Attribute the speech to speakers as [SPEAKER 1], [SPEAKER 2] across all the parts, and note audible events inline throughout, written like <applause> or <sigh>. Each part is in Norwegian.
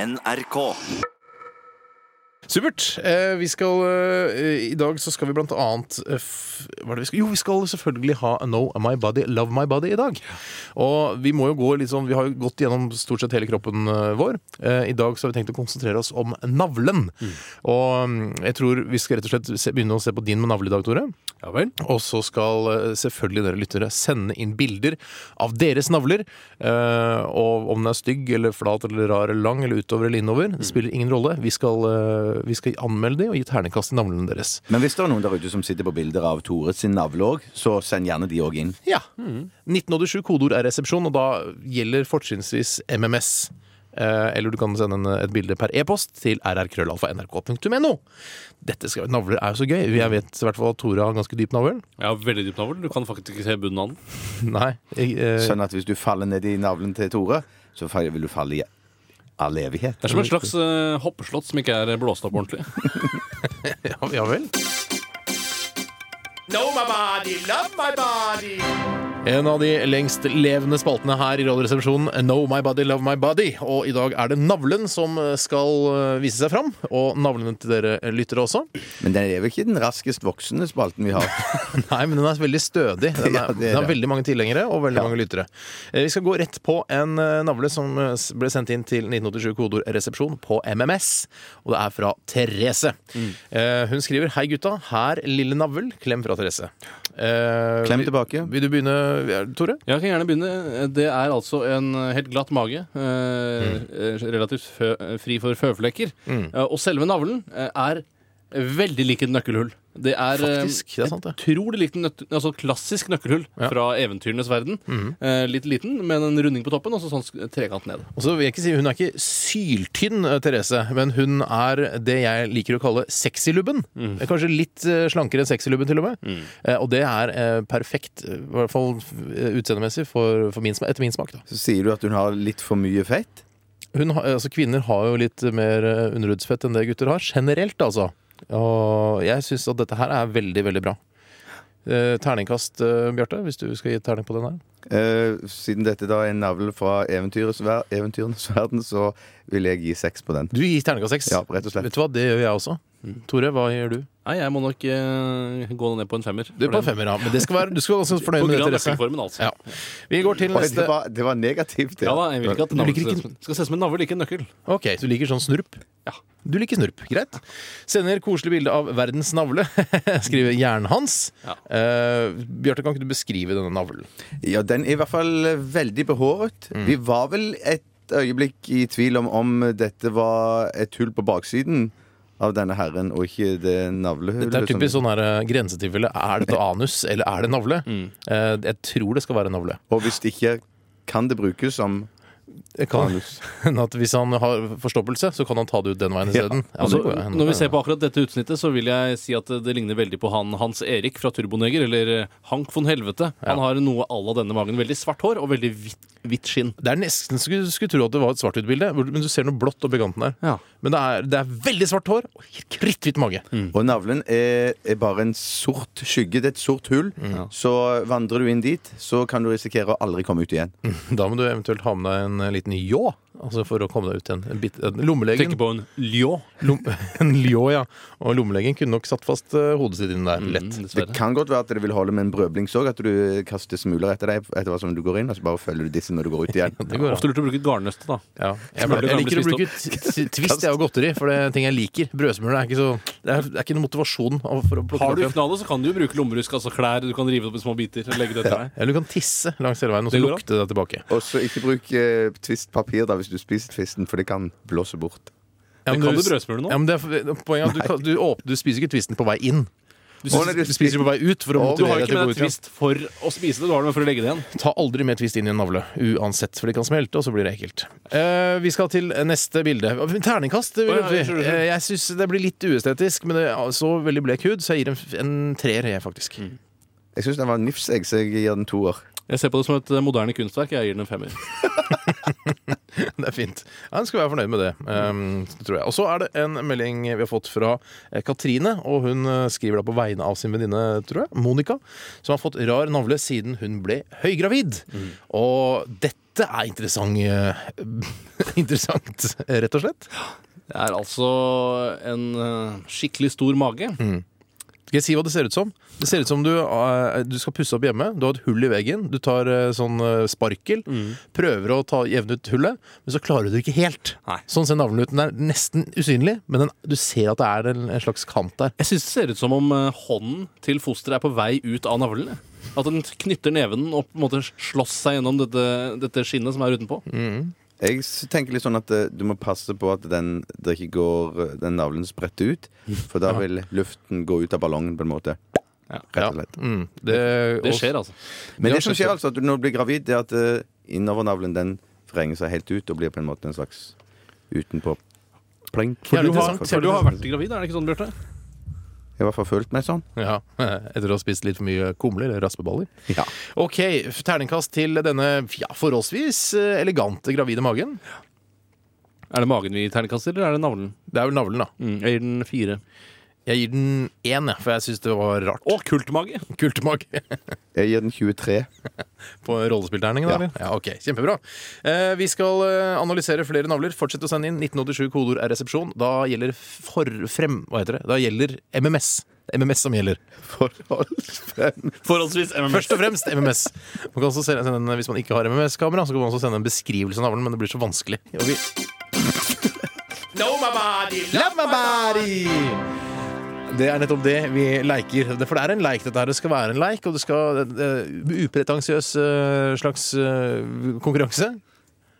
[SPEAKER 1] NRK.
[SPEAKER 2] Supert. Eh, vi skal, eh, I dag så skal vi blant annet eh, f, hva er det vi skal? Jo, vi skal selvfølgelig ha No My Body, Love My Body i dag. Og vi må jo gå litt sånn Vi har jo gått gjennom stort sett hele kroppen eh, vår. Eh, I dag så har vi tenkt å konsentrere oss om navlen. Og mm, jeg tror vi skal rett og slett se, begynne å se på din med navle i dag, Tore.
[SPEAKER 3] Ja vel.
[SPEAKER 2] Og så skal eh, selvfølgelig dere lyttere sende inn bilder av deres navler. eh, Og om den er stygg eller flat eller rar eller lang eller utover eller innover, det spiller ingen rolle. Vi skal, eh, vi skal anmelde de og gi ternekast til navlene deres.
[SPEAKER 4] Men hvis det er noen der ute som sitter på bilder av Tore sin navle òg, så send gjerne de òg inn.
[SPEAKER 2] Ja. 1987, Mm. kodeord er resepsjon, og da gjelder fortrinnsvis MMS. Eh, Eller du kan sende en, et bilde per e-post til rrkrøllalfa.nrk.no. Dette skal, Navler er jo så gøy. Jeg vet i hvert fall at Tore har en ganske dyp navl.
[SPEAKER 3] Jeg har veldig dyp navl. Du kan faktisk ikke se bunnen av den.
[SPEAKER 2] <laughs> Nei. Jeg, eh,
[SPEAKER 4] Sånn at hvis du faller ned i navlen til Tore, så fall- vil du falle i all evighet.
[SPEAKER 3] Det er som et slags eh, hoppeslott som ikke er blåst opp ordentlig.
[SPEAKER 2] <laughs> ja, ja vel. En av de lengst levende spaltene her i Radioresepsjonen, Know My Body, Love My Body. Og i dag er det navlen som skal eh, vise seg fram, og navlene til dere eh, lyttere også.
[SPEAKER 4] Men det er vel ikke den raskest voksende spalten vi har.
[SPEAKER 2] Nei, men den er veldig stødig. Den, er,
[SPEAKER 4] <laughs> Ja, det er
[SPEAKER 2] den har
[SPEAKER 4] det.
[SPEAKER 2] veldig mange tilhengere og veldig mange lyttere. Eh, Vi skal gå rett på en eh, navle som eh, s- ble sendt inn til 1987 kodeord resepsjon på MMS. Og det er fra Therese.
[SPEAKER 4] Mm.
[SPEAKER 2] Eh, Hun skriver Hei gutta, her lille navl. Klem fra Therese. Eh,
[SPEAKER 4] Klem
[SPEAKER 2] vil-
[SPEAKER 4] tilbake.
[SPEAKER 2] Vil du begynne, Tore?
[SPEAKER 3] Jeg kan gjerne begynne. Det er altså en helt glatt mage. Eh,
[SPEAKER 2] Mm.
[SPEAKER 3] eh, Relativt fø fri for føflekker. Eh, og selve navlen eh, er veldig lik et nøkkelhull. Det er, eh,
[SPEAKER 2] Faktisk, det er sant, det.
[SPEAKER 3] Utrolig likt nøtt- altså klassisk nøkkelhull
[SPEAKER 2] Ja.
[SPEAKER 3] fra eventyrenes verden.
[SPEAKER 2] Mm.
[SPEAKER 3] Eh, litt liten, men en runding på toppen og så sånn sk- trekant ned.
[SPEAKER 2] Og så vil jeg ikke si, Hun er ikke syltynn, eh, Therese, men hun er det jeg liker å kalle sexylubben. Kanskje litt eh, slankere enn sexylubben, til og med.
[SPEAKER 3] Mm.
[SPEAKER 2] Eh, Og det er eh, perfekt, eh, i hvert fall eh, utseendemessig, for, for min, sma- etter min smak. da.
[SPEAKER 4] Så sier du at hun har litt for mye fett.
[SPEAKER 2] Hun, har- altså, kvinner har jo litt mer eh, underhudsfett enn det gutter har, generelt, altså. Og jeg syns at dette her er veldig, veldig bra. Eh, Terningkast, eh, Bjarte, hvis du skal gi et terning på den her.
[SPEAKER 4] Eh, siden dette da er en navle fra eventyrets ver eventyrenes verden, så vil jeg gi seks på den.
[SPEAKER 2] Du gir terningkast seks.
[SPEAKER 4] Ja, rett og slett.
[SPEAKER 2] Vet du hva, det gjør jeg også. Tore, hva gjør du?
[SPEAKER 3] Nei, jeg må nok eh, gå ned på en femmer.
[SPEAKER 2] Du er på en femmer, ja. Men det skal være, du skal være ganske fornøyd
[SPEAKER 3] På
[SPEAKER 2] med det,
[SPEAKER 3] grunn av
[SPEAKER 2] Therese.
[SPEAKER 3] nøkkelformen, altså.
[SPEAKER 2] Ja. Vi går til
[SPEAKER 4] Oi, det,
[SPEAKER 2] neste.
[SPEAKER 4] var, det var negativt. det.
[SPEAKER 3] Ja da, jeg vil ikke at
[SPEAKER 2] Du
[SPEAKER 3] navlen
[SPEAKER 2] liker
[SPEAKER 3] skal
[SPEAKER 2] ikke-
[SPEAKER 3] se som- skal se ut som en navle, ikke en nøkkel.
[SPEAKER 2] Ok, Du liker sånn snurp?
[SPEAKER 3] Ja.
[SPEAKER 2] Du liker snurp, greit. Sender koselig bilde av verdens navle. <laughs> Skriver Jern-Hans.
[SPEAKER 3] Ja.
[SPEAKER 2] Eh, Bjarte, kan ikke du beskrive denne navlen?
[SPEAKER 4] Ja, den er i hvert fall veldig behåret.
[SPEAKER 2] Mm.
[SPEAKER 4] Vi var vel et øyeblikk i tvil om om dette var et hull på baksiden av denne herren, og ikke det navlehullet.
[SPEAKER 2] Det er typisk
[SPEAKER 4] som-
[SPEAKER 2] sånn her eh, grensetilfelle. Er
[SPEAKER 3] <laughs>
[SPEAKER 2] dette anus, eller er det navle?
[SPEAKER 3] Mm.
[SPEAKER 2] Eh, jeg tror det skal være navle.
[SPEAKER 4] Og hvis det ikke kan det brukes som
[SPEAKER 2] Det kan
[SPEAKER 4] anus.
[SPEAKER 2] hende <laughs> at Hvis han har forstoppelse, så kan han ta det ut den veien
[SPEAKER 4] Ja.
[SPEAKER 2] isteden. Ja,
[SPEAKER 3] Altså,
[SPEAKER 2] det går jo hende.
[SPEAKER 3] når vi ser på akkurat dette utsnittet, så vil jeg si at det ligner veldig på han Hans Erik fra Turboneger, eller eh, Hank von Helvete. Han har noe à la denne magen. Veldig svart hår og veldig hvitt, hvitt skinn.
[SPEAKER 2] Det er nesten så du skulle tro at det var et svart-hvitt bilde, hvor- men du ser noe blått oppi kanten der.
[SPEAKER 3] Ja.
[SPEAKER 2] Men det er, det er veldig svart hår og kritthvit mage.
[SPEAKER 3] Mm.
[SPEAKER 4] Og navlen er, er bare en sort skygge. Det er et sort hull.
[SPEAKER 2] Mm,
[SPEAKER 4] Så vandrer du inn dit, så kan du risikere å aldri komme ut igjen.
[SPEAKER 2] Da må du eventuelt ha med deg en eh, liten ljå altså for å komme deg ut igjen. En bit, en lommelegen,
[SPEAKER 3] Tenker på en ljå.
[SPEAKER 2] lom, <laughs> en ljå, ja. Og lommelegen kunne nok satt fast eh, hodet sitt inni der
[SPEAKER 3] Mm,
[SPEAKER 2] lett.
[SPEAKER 4] Det
[SPEAKER 3] Dessverre.
[SPEAKER 4] kan godt være at det vil holde med en brødblings òg, at du kaster smuler etter deg etter hva som du går inn, og så bare følger du disse når du går ut
[SPEAKER 2] <laughs>
[SPEAKER 4] igjen.
[SPEAKER 2] Det går an.
[SPEAKER 3] Ofte lurt å bruke garnnøste, da.
[SPEAKER 2] Ja. Jeg,
[SPEAKER 3] Smuler
[SPEAKER 2] pleier- jeg
[SPEAKER 3] kan
[SPEAKER 2] liker å
[SPEAKER 3] bli
[SPEAKER 2] bruke t- t- Twist jeg, og godteri, for det er ting jeg liker. Brødsmuler er ikke så Det er, det er ikke noe motivasjon av- for å plukke
[SPEAKER 3] Har du
[SPEAKER 2] det opp igjen.
[SPEAKER 3] knallet, så kan du jo bruke lommerusk, altså klær. Du kan rive det opp i små biter og legge det etter deg.
[SPEAKER 2] Eller du kan tisse langs hele veien og så
[SPEAKER 3] Det går an.
[SPEAKER 2] lukte det tilbake.
[SPEAKER 4] Og så ikke bruk eh, tvistpapir da hvis du spiser tvisten, for det kan blåse bort.
[SPEAKER 2] Ja, men
[SPEAKER 3] kan du
[SPEAKER 2] s-
[SPEAKER 3] brødsmuler nå.
[SPEAKER 2] Ja, men det er, poenget er at du, kan- du, åp- du spiser ikke twisten på vei inn. Du,
[SPEAKER 4] Å, nei,
[SPEAKER 2] spiser- du spiser på vei ut for å
[SPEAKER 4] Å,
[SPEAKER 3] Du
[SPEAKER 2] motivere
[SPEAKER 3] har jo
[SPEAKER 2] deg til
[SPEAKER 3] ikke
[SPEAKER 2] å gå
[SPEAKER 3] med
[SPEAKER 2] ut
[SPEAKER 3] deg
[SPEAKER 2] igjen.
[SPEAKER 3] twist for å spise det, du har det med for å legge det igjen.
[SPEAKER 2] Ta aldri med twist inn i en navle, uansett, for de kan smelte, og så blir det ekkelt. Eh, vi skal til neste bilde. Terningkast, det vil
[SPEAKER 3] Å, ja,
[SPEAKER 2] vi.
[SPEAKER 3] unnskyld, unnskyld.
[SPEAKER 2] Eh, jeg syns det blir litt uestetisk, men det er så veldig blek hud, så jeg gir en, f- en treer, jeg, faktisk.
[SPEAKER 3] Mm.
[SPEAKER 4] Jeg syns den var nifs, jeg, så jeg gir den toer.
[SPEAKER 3] Jeg ser på det som et eh, moderne kunstverk. Jeg gir den en femmer.
[SPEAKER 2] <laughs> Det er fint. Ja, Han skal være fornøyd med det, ehm, det tror jeg. Og så er det en melding vi har fått fra eh, Katrine, og hun eh, skriver da på vegne av sin venninne, tror jeg, Monica, som har fått rar navle siden hun ble høygravid. Og dette Dette er interessant, eh, <laughs> interessant, rett og slett.
[SPEAKER 3] Det er altså en eh, skikkelig stor mage.
[SPEAKER 2] Skal jeg si hva det ser ut som? Det ser ut som du, eh, du skal pusse opp hjemme. Du har et hull i veggen. Du tar eh, sånn eh, sparkel. Prøver å ta, jevne ut hullet, men så klarer du det ikke helt.
[SPEAKER 3] Nei.
[SPEAKER 2] Sånn ser navlen ut. Den er nesten usynlig, men den, du ser at det er en, en slags kant der.
[SPEAKER 3] Jeg syns det ser ut som om eh, hånden til fosteret er på vei ut av navlen. jeg. At den knytter neven og på en måte slåss seg gjennom dette, dette skinnet som er utenpå.
[SPEAKER 4] Jeg s- tenker litt sånn at eh, du må passe på at den, det ikke går eh, den navlen spretter ut. For da vil luften gå ut av ballongen, på en måte.
[SPEAKER 3] Ja.
[SPEAKER 4] Rett og slett.
[SPEAKER 2] Mm, det,
[SPEAKER 3] Det skjer, altså.
[SPEAKER 4] Men
[SPEAKER 2] har
[SPEAKER 4] det som
[SPEAKER 2] skjedd
[SPEAKER 4] skjer altså at du, når du blir gravid, det er at eh, innovernavlen den vrenger seg helt ut og blir på en måte en slags utenpå. Pling.
[SPEAKER 2] For
[SPEAKER 3] Du
[SPEAKER 2] du
[SPEAKER 3] har,
[SPEAKER 2] har-
[SPEAKER 3] for du har vært gravid, er det ikke sånn, Bjarte?
[SPEAKER 4] Jeg har i hvert fall følt meg sånn.
[SPEAKER 2] Ja, <laughs> Etter å ha spist litt for mye kumler eller raspeballer.
[SPEAKER 4] Ja.
[SPEAKER 2] Ok, f- terningkast til denne ja, forholdsvis eh, elegante gravide magen.
[SPEAKER 3] Er det magen vi terningkaster, eller er det navlen? Mm,
[SPEAKER 2] Det er vel navlen, da.
[SPEAKER 3] Jeg gir den fire.
[SPEAKER 2] Jeg gir den én, jeg, for jeg syns det var rart.
[SPEAKER 3] Å, kultmage!
[SPEAKER 2] Kultmage
[SPEAKER 4] Jeg gir den 23.
[SPEAKER 2] på rollespillterningen, da?
[SPEAKER 4] Ja.
[SPEAKER 2] eller? Ja, ok, Kjempebra. Eh, vi skal eh, analysere flere navler. Fortsett å sende inn. 1987 kodeord er resepsjon. Da gjelder for... frem... Hva heter det? Da gjelder MMS. Det er MMS som gjelder.
[SPEAKER 4] <laughs> Forholdsfrem.
[SPEAKER 3] Forholdsvis
[SPEAKER 2] Først og fremst MMS. Man kan også sende sende en, hvis man ikke har MMS-kamera, så kan man også sende en beskrivelse av navlen, men det blir så vanskelig. Og vi... Love my body! Det er nettopp det vi leker. Det- For det er en leik. Dette her det skal være en leik, og det skal uh, upretensiøs eh, slags eh, konkurranse.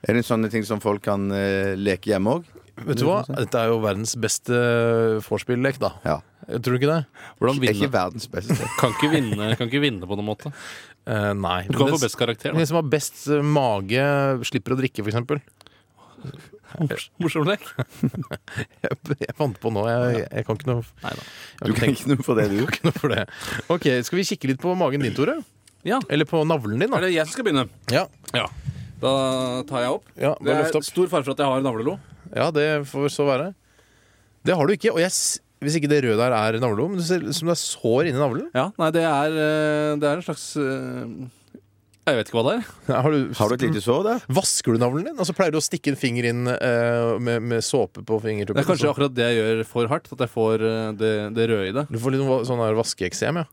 [SPEAKER 4] Er det sånne ting som folk kan eh, leke hjemme òg?
[SPEAKER 2] Vet du hva? Dette er jo verdens beste eh, vorspiel-lek, da.
[SPEAKER 4] Ja.
[SPEAKER 2] Tror du ikke det?
[SPEAKER 3] Hvordan
[SPEAKER 4] Er ikke
[SPEAKER 3] vinne?
[SPEAKER 4] verdens beste.
[SPEAKER 3] Kan ikke vinne, kan ikke vinne på noen måte.
[SPEAKER 2] Eh, nei.
[SPEAKER 3] Du kan få best karakter.
[SPEAKER 2] Den som har best eh, mage, slipper å drikke, for eksempel.
[SPEAKER 3] Da. Morsom lek.
[SPEAKER 2] Jeg, jeg fant på nå. Jeg, jeg kan ikke noe
[SPEAKER 3] Neida.
[SPEAKER 2] Jeg har
[SPEAKER 4] Du kan
[SPEAKER 2] ikke tenkt
[SPEAKER 4] ikke noe for det, du.
[SPEAKER 2] noe for det. Ok, Skal vi kikke litt på magen din, Tore?
[SPEAKER 3] Ja.
[SPEAKER 2] Eller på navlen din,
[SPEAKER 3] Er
[SPEAKER 2] da?
[SPEAKER 3] det jeg som skal begynne?
[SPEAKER 2] Ja,
[SPEAKER 3] Ja. Da tar jeg opp.
[SPEAKER 2] ja,
[SPEAKER 3] Det
[SPEAKER 2] bare løft
[SPEAKER 3] er
[SPEAKER 2] opp.
[SPEAKER 3] stor fare for at jeg har navlelo.
[SPEAKER 2] ja det får så være. Det har du ikke. Og jeg, s- hvis ikke det røde der er navlelo, men det ser ut som det er sår inni
[SPEAKER 3] <laughs>
[SPEAKER 2] navlen.
[SPEAKER 3] Ja, nei, det er, eh, det er en slags eh, Jeg vet ikke hva det er.
[SPEAKER 2] Har du,
[SPEAKER 4] Har du et lite sår der?
[SPEAKER 2] Vasker du navlen din? Altså Pleier du å stikke en finger inn eh, med, med såpe på fingertuppen?
[SPEAKER 3] Det er kanskje akkurat det jeg gjør for hardt. At jeg får eh, det, det røde i det.
[SPEAKER 2] Du får litt va- sånn her vaskeeksem, ja.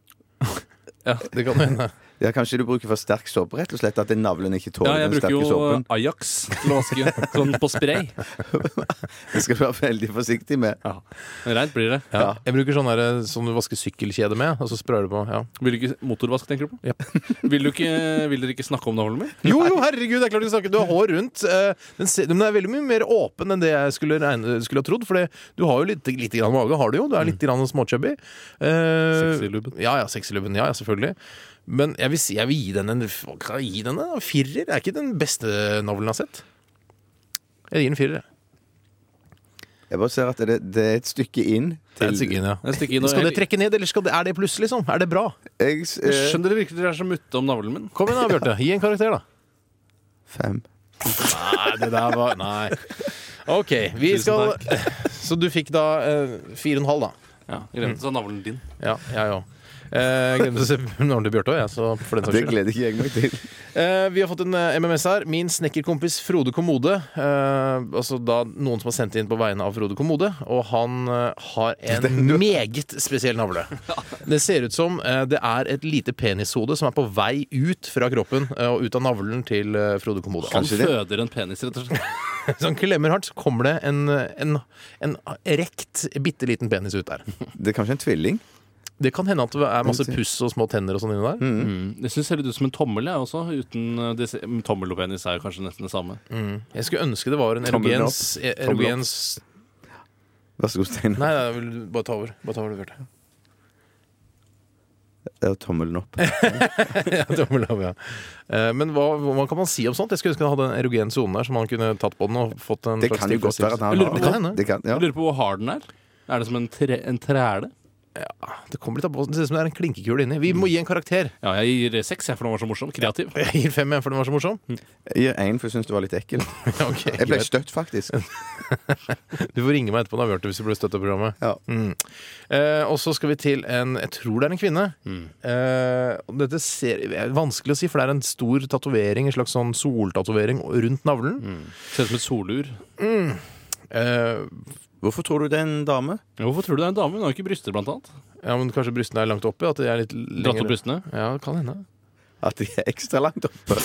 [SPEAKER 3] <laughs> Ja.
[SPEAKER 2] Det kan hende.
[SPEAKER 4] Ja, Kanskje du bruker for sterk såpe, rett og slett? At navlen ikke
[SPEAKER 3] Ja,
[SPEAKER 4] tåler
[SPEAKER 3] jeg
[SPEAKER 4] den
[SPEAKER 3] bruker
[SPEAKER 4] sterke
[SPEAKER 3] jo
[SPEAKER 4] såpen?
[SPEAKER 3] eh, Ajax til å vaske
[SPEAKER 4] <laughs>
[SPEAKER 3] sånn på spray.
[SPEAKER 4] Det skal du være veldig forsiktig med.
[SPEAKER 3] Ja. Reint blir det.
[SPEAKER 2] Ja.
[SPEAKER 4] Ja.
[SPEAKER 2] Jeg bruker sånn her, eh, som du vasker sykkelkjede med, og så sprayer du på. Ja.
[SPEAKER 3] Vil du ikke Motorvask, tenker du på?
[SPEAKER 2] Ja.
[SPEAKER 3] <laughs> Vil, du ikke, vil dere ikke snakke om navlen min?
[SPEAKER 2] Jo, jo, herregud, det er klart du snakker. Du har hår rundt. eh, Den, ser, men den er veldig mye mer åpen enn det jeg skulle, regne, skulle ha trodd. For det- du har jo litt, litt grann mage, har du jo. Du er litt grann småchubby. Eh,
[SPEAKER 3] Sexylubben.
[SPEAKER 2] Ja, ja, sexylubben. Ja, ja, selvfølgelig. Men jeg vil, si, jeg vil gi den en hva kan jeg gi den en firer. Er ikke den beste navlen jeg har sett. Jeg gir den firer. jeg.
[SPEAKER 4] Jeg bare ser at det, det er et stykke inn
[SPEAKER 2] Det er et
[SPEAKER 4] til
[SPEAKER 2] stykke inn, ja.
[SPEAKER 3] Jeg stikker inn og-
[SPEAKER 2] Skal det trekke ned, eller skal det, er det pluss, liksom? Er det bra?
[SPEAKER 4] Jeg s-
[SPEAKER 3] Jeg
[SPEAKER 4] eh,
[SPEAKER 3] skjønner dere virkelig dere er så mutte om navlen min?
[SPEAKER 2] Kom igjen da, Bjarte. Gi en karakter, da.
[SPEAKER 4] fem.
[SPEAKER 2] Nei, det der var <laughs> Nei. OK. Vi
[SPEAKER 3] Tusen
[SPEAKER 2] skal <laughs> Så du fikk da eh, fire og en halv, da.
[SPEAKER 3] Ja, Greit, så er navlen din.
[SPEAKER 2] Ja, jeg òg. Eh, glemte å se navnet til Bjarte òg, jeg. Så for den saks
[SPEAKER 4] Det
[SPEAKER 2] skyld.
[SPEAKER 4] gleder ikke jeg meg til.
[SPEAKER 2] Eh, vi har fått en eh, MMS her. Min snekkerkompis Frode Kommode. Eh, altså da noen som har sendt inn på vegne av Frode Kommode. Og han eh, har en meget spesiell navle. Det ser ut som eh, det er et lite penishode som er på vei ut fra kroppen eh, og ut av navlen til eh, Frode Kommode.
[SPEAKER 3] Han
[SPEAKER 2] Han
[SPEAKER 4] Kanskje det.
[SPEAKER 3] føder en penis, rett og slett.
[SPEAKER 2] hvis han klemmer hardt, så kommer det en, en, en rekt, bitte liten penis ut der.
[SPEAKER 4] Det er kanskje en tvilling.
[SPEAKER 2] Det kan hende at det er masse puss og små tenner og sånn inni der.
[SPEAKER 3] Mm. Jeg syns ser litt ut som en tommel, jeg også. Uten eh, disse- tommel og penis er jo kanskje nesten det samme.
[SPEAKER 2] Jeg skulle ønske det var en
[SPEAKER 4] Tommelen opp.
[SPEAKER 2] erogens, e-
[SPEAKER 4] Tommelen
[SPEAKER 2] erogens
[SPEAKER 4] Vær så god, Stein.
[SPEAKER 2] Nei, nei, vil du bare ta over. Bare ta over det Bjarte.
[SPEAKER 4] Det er tommelen opp.
[SPEAKER 2] <laughs> ja, tommelen opp, ja. Eh, Men hva, hva kan man si om sånt? Jeg skulle ønske han hadde en erogen sone der som han kunne tatt på den og fått en
[SPEAKER 4] Det kan jo godt være at han
[SPEAKER 2] Jeg lurer på- det
[SPEAKER 4] har
[SPEAKER 2] kan hende.
[SPEAKER 4] Det kan, ja.
[SPEAKER 3] Jeg lurer på hvor hard den er. Er det som en, tre, en træle?
[SPEAKER 2] Ja, det kommer litt an på. Det ser ut som det er en klinkekule inni. Vi må gi en
[SPEAKER 4] <laughs>
[SPEAKER 2] karakter.
[SPEAKER 3] Ja, jeg gir seks, jeg, for den var så morsom. Kreativ.
[SPEAKER 2] Jeg gir fem igjen, for den var så
[SPEAKER 4] <laughs>
[SPEAKER 2] morsom.
[SPEAKER 4] Jeg gir én, for jeg syns du var litt ekkel.
[SPEAKER 2] Ok,
[SPEAKER 4] Jeg ble
[SPEAKER 2] greit.
[SPEAKER 4] støtt, faktisk.
[SPEAKER 2] Du får ringe meg etterpå når vi har gjort det, hvis du blir støtt av programmet.
[SPEAKER 4] Ja.
[SPEAKER 2] Mm. Eh, og så skal vi til en Jeg tror det er en kvinne.
[SPEAKER 4] Mm.
[SPEAKER 2] Eh, og dette ser, det er vanskelig å si, for det er en stor tatovering, en slags sånn soltatovering rundt navlen.
[SPEAKER 3] Ser ut som et solur.
[SPEAKER 4] Mm.
[SPEAKER 2] Eh,
[SPEAKER 4] Hvorfor tror du det er en dame?
[SPEAKER 3] Ja, Hvorfor tror du det er en dame? Hun har jo ikke bryster, blant annet.
[SPEAKER 2] ja, men kanskje brystene er langt oppe? At de er litt
[SPEAKER 3] Dratt opp
[SPEAKER 2] lengre?
[SPEAKER 3] brystene.
[SPEAKER 2] Ja, det kan hende.
[SPEAKER 4] At de er ekstra langt oppe?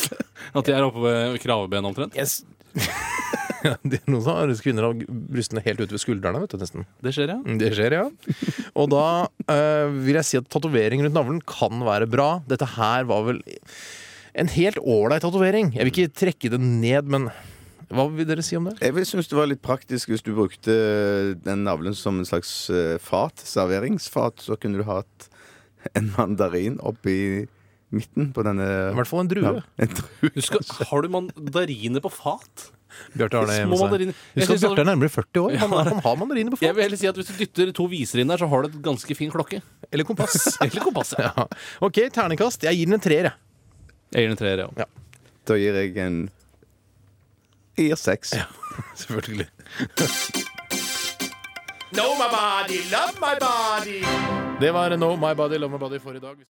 [SPEAKER 3] At de er oppe ved kravebenet omtrent.
[SPEAKER 2] Yes. <laughs> Ja, det er noen som har kvinner har brystene helt ute ved skuldrene, vet du, nesten. Mm,
[SPEAKER 3] Det skjer, ja.
[SPEAKER 2] Det skjer, ja. Og da eh, vil jeg si at tatovering rundt navlen kan være bra. Dette her var vel en helt ålreit tatovering. Jeg vil ikke trekke det ned, men hva vil dere si om det?
[SPEAKER 4] Jeg vil synes det var litt praktisk hvis du brukte eh, den navlen som en slags eh, fat, serveringsfat. Så kunne du hatt en mandarin oppi midten på denne
[SPEAKER 2] I hvert fall en drue.
[SPEAKER 4] nav- en drue.
[SPEAKER 3] Husk, har du mandariner på fat?
[SPEAKER 2] Bjarte Arne
[SPEAKER 3] Små
[SPEAKER 2] Hjemmesheim.
[SPEAKER 3] mandariner. Jeg
[SPEAKER 2] Husk at
[SPEAKER 3] synes at-
[SPEAKER 2] Bjarte er nærmere 40 år. Han, er, han har mandariner på
[SPEAKER 3] Jeg vil
[SPEAKER 2] fat.
[SPEAKER 3] heller si at Hvis du dytter to viser inn der, så har du et ganske fin klokke.
[SPEAKER 2] Eller kompass.
[SPEAKER 3] Eller kompass. Ja.
[SPEAKER 2] <laughs> Ja. OK, ternekast. Jeg gir den en treer, jeg.
[SPEAKER 3] Jeg gir den en treer, ja.
[SPEAKER 4] Da gir jeg en Jeg gir seks.
[SPEAKER 2] <laughs> Selvfølgelig. Know my body, love my body. Det var No My Body, Love My Body for i dag.